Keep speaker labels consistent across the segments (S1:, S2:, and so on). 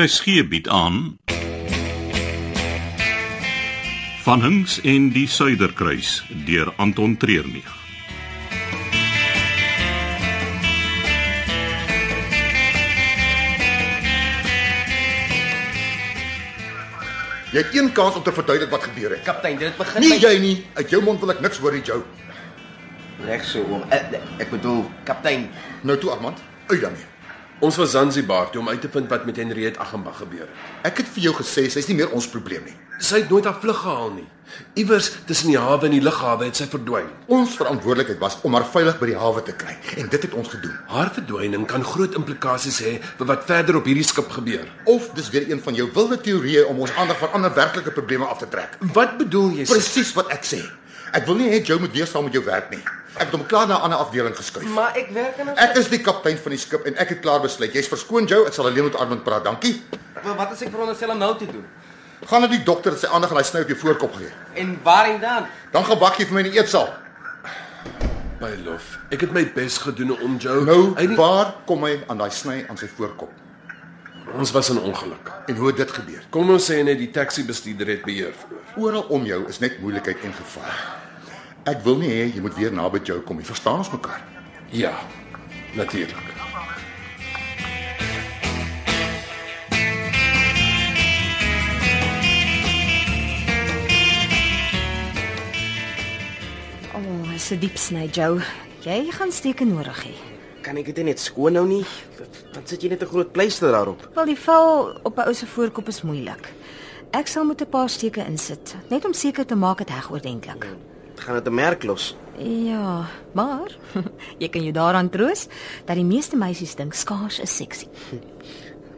S1: RSG bied aan Van Hinks en die Suiderkruis deur Anton Treurnig.
S2: Jy het een kans om te verduidelik wat gebeur het.
S3: Kaptein, dit begin
S2: Nie jy nie. Uit jou mond wil ek niks hoor, nie, Joe.
S3: reg so oom. Ek, ek bedoel, kaptein,
S2: Nou toe, Armand, uit daarmee.
S4: Ons was Zanzibar toe om uit te vind wat met Henriette Agambag gebeur het.
S2: Ek het vir jou gesê sy's nie meer ons probleem nie.
S4: Sy het nooit haar vlug gehaal nie. Iewers tussen die hawe en die lughawe het sy verdwyn.
S2: Ons verantwoordelikheid was om haar veilig by die hawe te kry en dit het ons gedoen.
S4: Haar verdwyning kan groot implikasies hê vir wat verder op hierdie skip gebeur.
S2: Of dis weer een van jou wilde teorieë om ons aandag van ander werklike probleme af te trek.
S4: Wat bedoel jy? Prins?
S2: Presies wat ek sê. Ek wil nie hê Joe moet weer saam met jou werk nie. Ek het hom klaar na 'n ander afdeling geskuif.
S3: maar ek werk in 'n
S2: Ek is die kaptein van die skip en ek het klaar besluit. Jy's verskoon Joe, ek sal alleen met Armand praat. Dankie.
S3: Maar wat as ek veronderstel om nou te doen?
S2: Gaan na die dokter dat sy aandag aan hy sny op jou voorkop gee.
S3: En waarheen dan?
S2: Dan gaan wag jy vir my in die eetsaal.
S4: My lof, ek het my bes gedoen om jou.
S2: Nou,
S4: Hy nie-
S2: waar kom hy aan daai sny aan sy voorkop?
S4: ons was in ongeluk.
S2: En hoe het dit gebeur?
S4: Kom ons sê net die taxi bestuurder het beheer verloor.
S2: Oral om jou is net moeilikheid en gevaar. Ek wil nie hê jy moet weer naby jou kom nie. Verstaan ons mekaar?
S4: Ja, natuurlik.
S5: O, oh, dis 'n diep sny, Joe. Jy gaan steek nodig hê.
S3: Kan ek dit nie net skoon nou nie? Dan sit jy net 'n groot pleister daarop.
S5: Wel die val op 'n ou se voorkop is moeilik. Ek sal moet 'n paar steke insit, net om seker te maak dit heg oordentlik.
S3: Dit gaan dit 'n merk los.
S5: Ja, maar jy kan jou daaraan troos dat die meeste meisies dink skaars is seksie.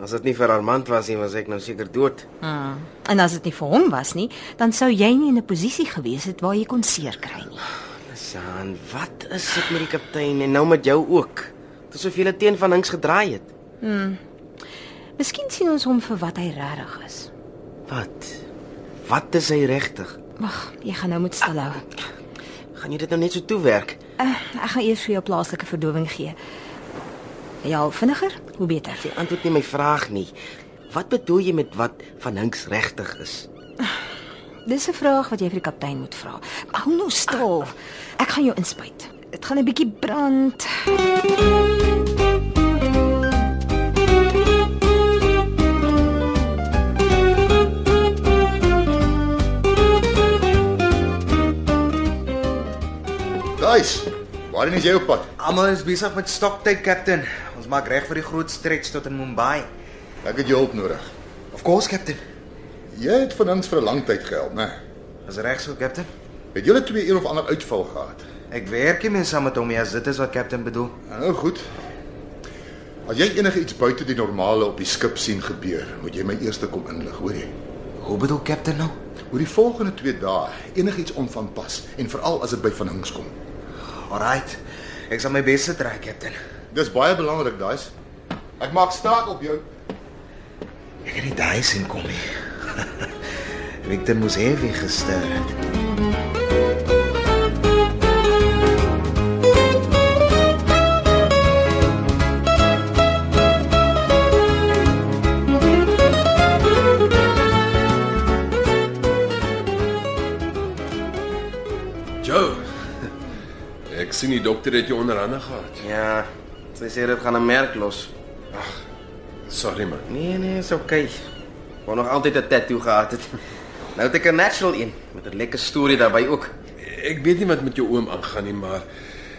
S3: As dit nie vir Armand was nie, was ek nou seker dood.
S5: Mm. En as dit nie vir hom was nie, dan sou jy nie in 'n posisie gewees het waar jy kon seer kry nie.
S3: San, wat is dit met die kaptein en nou met jou ook? Dit is of jy hulle teen van links gedraai het.
S5: Miskien sien ons hom vir wat hy regtig is.
S3: Wat? Wat is hy regtig?
S5: Wag, jy gaan nou moet stil hou.
S3: Gaan jy dit nou net so toewerk?
S5: Uh, ek gaan eers vir jou plaaslike verdowing gee. Ja, hoe vinniger, hoe beter.
S3: Jy antwoord nie my vraag nie. Wat bedoel jy met wat van Hinks regtig is?
S5: Dis 'n vraag wat jy vir die kaptein moet vra. Maar hou nou stil. Ek gaan jou inspuit. Dit gaan 'n bietjie brand.
S2: Guys, waarheen is jy op pad?
S6: Almal is besig met stoktyd, kaptein. Ons maak reg vir die groot stretch tot in Mumbai.
S2: Ek het jou hulp nodig.
S6: Of course, kaptein.
S2: Jy het van ons vir 'n lang tyd gehelp, né?
S6: Is reg so, kaptein.
S2: Het julle twee een of ander uitval gehad?
S6: Ek werk nie meer saam met hom nie, as dit is wat kaptein bedoel.
S2: Nou goed. As jy enige iets buite die normale op die skip sien gebeur, moet jy my eers kom inlig, hoor jy?
S6: Hoe bedoel kaptein nou?
S2: Oor die volgende 2 dae enigiets onvanpas en veral as dit by van Hinks kom.
S6: Alraight. Ek sal my bes trek, kaptein.
S2: Dis baie belangrik, daai's. Ek maak staat op jou.
S6: Ek het nie daai sien kom nie. Victor moes heavy gestuur het.
S4: Joe. Ek sien die dokter het jou onderhande gehad.
S3: Ja, sy sê dit gaan 'n merk los.
S4: Sorry man.
S3: Nee nee, is oukei. Okay. Wou nog altyd 'n tattoo gehad het. Nou het ek 'n natural een met 'n lekker storie daarbey ook.
S4: Ek weet nie wat met jou oom aangaan nie, maar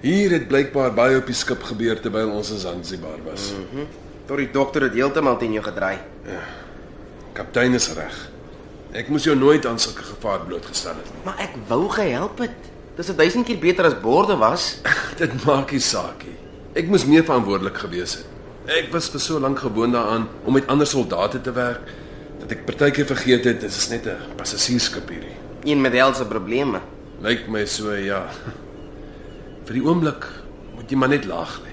S4: hier het blykbaar baie op die skip gebeur terwyl ons in Zanzibar was. Mm.
S3: Tot die dokter het heeltemal teen jou gedraai.
S4: Kaptein is reg. Ek moes jou nooit aan sulke gevaar blootgestel het nie.
S3: Maar ek wou gehelp het. Dis 'n duisend keer beter as borde was.
S4: Dit maak nie saak nie. Ek moes meer verantwoordelik gewees het. Ek was vir so lank gewoond daaraan om met ander soldate te werk dat ek partykeer vergeet het dit is net 'n passasiersskip hierdie.
S3: Een met helse probleme.
S4: Lyk my so ja. Vir die oomblik moet jy maar net laag lê.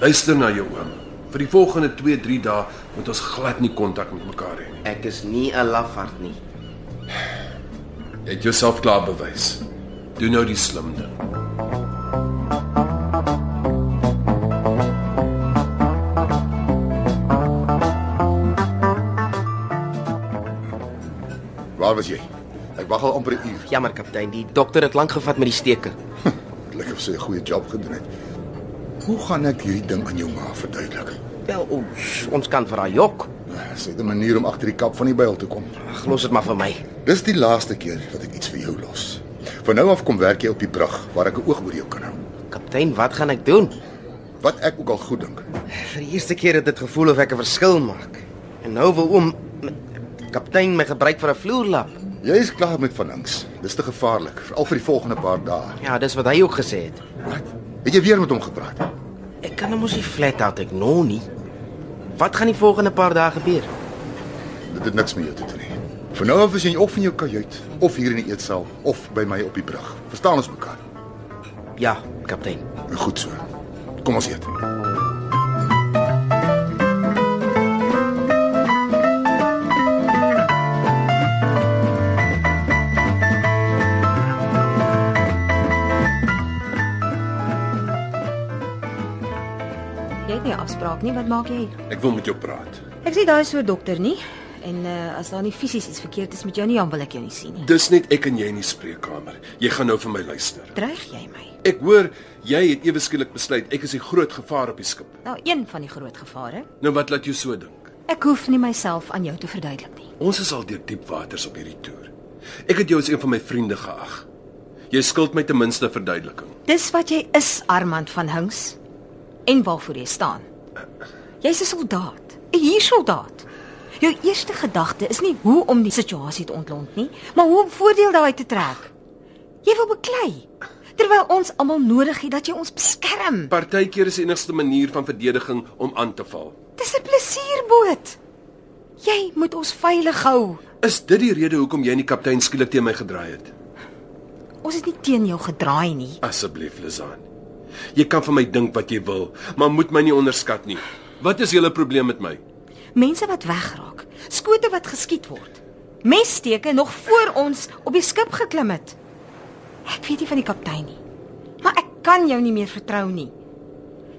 S4: Luister na jou oom. Vir die volgende 2-3 dae moet ons glad nie kontak met mekaar hê nie.
S3: Ek is nie 'n lafaard nie.
S4: Jy het jouself klaar bewys. Doen nou die slim ding.
S2: Waar was jy? Ek wag al amper 'n uur.
S3: Jammer kaptein, die dokter het lank gevat met die steker.
S2: Dit lyk of sy 'n goeie job gedoen het. Hoe gaan ek hierdie ding aan jou ma verduidelik?
S3: Wel, ons, ons kan vir haar jok.
S2: Sy het 'n manier om agter die kap van die byl te kom.
S3: Ag, los dit maar vir my.
S2: Dis die laaste keer dat ek iets vir jou los. Van nou af kom werk jy op die brug waar ek 'n oog oor jou kan hou.
S3: Kaptein, wat gaan ek doen?
S2: Wat ek ook al goed dink.
S3: Vir die eerste keer het dit gevoel of ek 'n verskil maak. En nou wil oom kaptein my gebruik vir 'n vloerlap.
S2: Jy is klaar met vanings. Dis te gevaarlik, veral vir die volgende paar dae.
S3: Ja, dis wat hy ook gesê het.
S2: Wat? Het jy weer met hom gepraat?
S3: Ek kan hom mos nie flat out ek nou nie. Wat gaan die volgende paar dae gebeur?
S2: Dit het niks met jou te doen nie. Van nou af is jy of in jou kajuit of hier in die eetsaal of by my op die brug. Verstaan ons mekaar?
S3: Ja, kaptein.
S2: Nou goed so. Kom ons eet.
S5: Jy het nie 'n afspraak nie, wat maak jy?
S4: Ek wil met jou praat.
S5: Ek sê daai is so dokter nie. En uh, as daar nie fisies iets verkeerd is met jou nie, dan wil ek jou nie sien nie.
S4: Dis net ek en jy in die spreekkamer. Jy gaan nou vir my luister.
S5: Dreig jy my?
S4: Ek hoor jy het ewe skielik besluit ek is die groot gevaar op die skip.
S5: Nou, een van die groot gevare.
S4: Nou wat laat jou so dink?
S5: Ek hoef nie myself aan jou te verduidelik nie.
S4: Ons is al deur diep waters op hierdie toer. Ek het jou as een van my vriende geag. Jy skuld my ten minste 'n verduideliking.
S5: Dis wat jy is, Armand van Hinks. En waarvoor jy staan. Jy's 'n soldaat, 'n hiersoldaat. Jou eerste gedagte is nie hoe om die situasie te ontlont nie, maar hoe om voordeel daaruit te trek. Jy wil beklei terwyl ons almal nodig het dat jy ons beskerm.
S4: Partykeer is die enigste manier van verdediging om aan te val.
S5: Dis 'n plesierboot. Jy moet ons veilig hou.
S4: Is dit die rede hoekom jy en die kaptein skielik teen my gedraai het?
S5: Ons het nie teen jou gedraai nie.
S4: Asseblief, Lizaan. Jy kan van my dink wat jy wil, maar moet my nie onderskat nie. Wat is julle probleem met my?
S5: Mense wat wegraak, skote wat geskiet word. Messteke nog voor ons op die skip geklim het. Ek weet nie van die kaptein nie. Maar ek kan jou nie meer vertrou nie.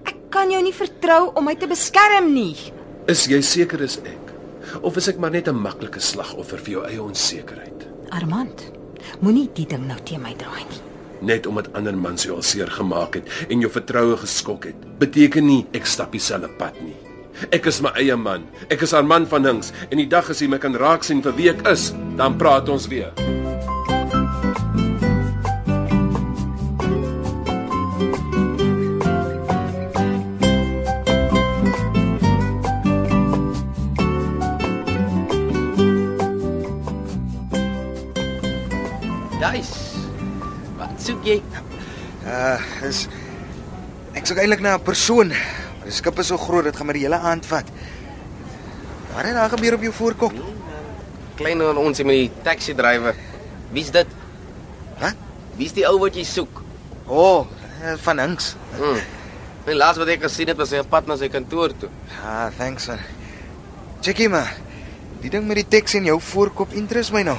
S5: Ek kan jou nie vertrou om my te beskerm nie.
S4: Is jy seker is ek? Of is ek maar net 'n maklike slagoffer vir jou eie onsekerheid,
S5: Armand, moenie die ding nou teen my draai nie.
S4: net omdat ander mans jou al seer gemaak het en jou vertroue geskok het? Beteken nie ek stap dieselfde pad nie. Ek is my eie man. Ek is Arman van Hinks en die dag as jy my kan raak sien vir wie ek is, dan praat ons weer.
S3: Duis. Wat soek jy?
S6: Uh, is ek soek eintlik na 'n persoon. Maar die skip is so groot, dit gaan my die hele aand vat. Wat het daar gebeur op jou voorkop?
S3: Kleiner aan ons hier met die taxi drywer. Wie's dit?
S6: Wat?
S3: Wie's die ou wat jy soek?
S6: O, oh, eh, van Hinks.
S3: Hm. Die laaste wat ek gesien het was hy op pad na sy kantoor toe.
S6: Ah, thanks man. Checkie maar. Die ding met die teks en jou voorkop interest my nou.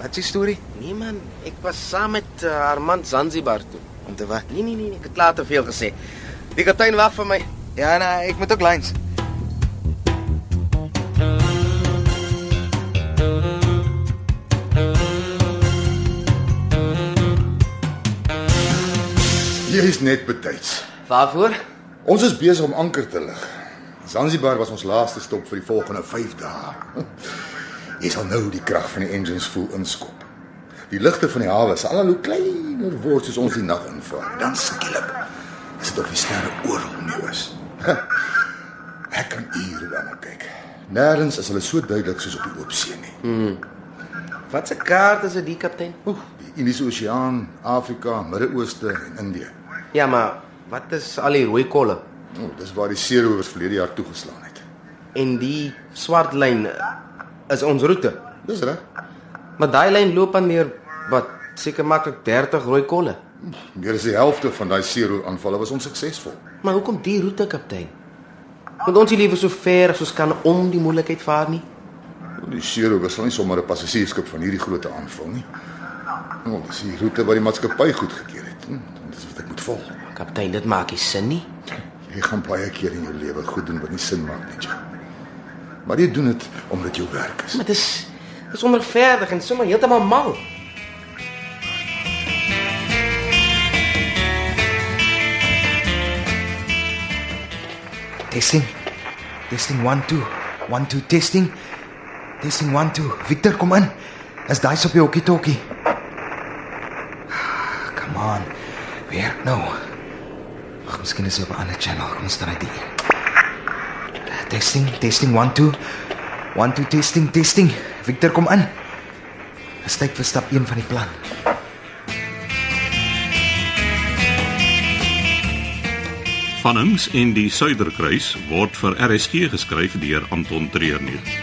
S6: Wat is die storie?
S3: Nee man, ek was saam met uh, Armand Zanzibar toe.
S6: Om te wat?
S3: Nee nee nee, nee, ek het klaar te veel gesê. Die kaptein wag vir my.
S6: Ja, nee, ek moet ook lines.
S2: Jy is net betyds.
S3: Waarvoor?
S2: Ons is besig om anker te lig. Zanzibar was ons laaste stop vir die volgende 5 dae. Jy sal nou die krag van die engines voel inskop. Die ligte van die hawe sal al hoe kleiner word soos ons die nag invaar. Dan skielik is dit of die sterre oral om jou is. Ek kan ure daarna kyk. Nêrens is hulle so duidelik soos op die oop see nie.
S3: Wat se kaart is dit die kaptein?
S2: Oef, die Indiese Oseaan, Afrika, Midde-Ooste en Indië.
S3: Ja, maar wat is al die rooi kolle?
S2: O, oh, dis waar die seerowers verlede jaar toegeslaan het.
S3: En die swart lyn eh, is ons roete.
S2: Dis reg.
S3: Maar daai lyn loop aan deur wat seker maklik 30 rooi kolle.
S2: Meer as die helfte van daai seerooraanvalle was onsuksesvol.
S3: Maar hoekom die roete kaptein? Want ons lewe so ver as ons kan om die moeilikheid vaar nie.
S2: Die seeroowers sal nie sommer 'n passasiersskip van hierdie grootte aanval nie. Nou, dis die roete wat die maatskappy goedgekeur het. Hm, dis wat ek moet volg.
S3: Kaptein, dit maak nie sin nie.
S2: Jy gaan baie keer in jou lewe goed doen wat nie sin maak nie. Jack. Maar jy doen dit omdat jou werk is.
S3: Maar dis Dis onregverdig en sommer heeltemal mal.
S6: Testing. Testing 1 2. 1 2 testing. Testing 1 2. Victor, kom in. Is daai op jou hokkie tokkie? Come on. Weer nou. Ag, miskien is hy op 'n ander channel. Kom ons draai die. Testing, testing 1 2. 1 2 testing, testing. Victor, kom in. Dis tyd vir stap 1 van die plan.
S1: Van Hinks en die Suiderkruis word vir RSG geskryf deur Anton Treurnig.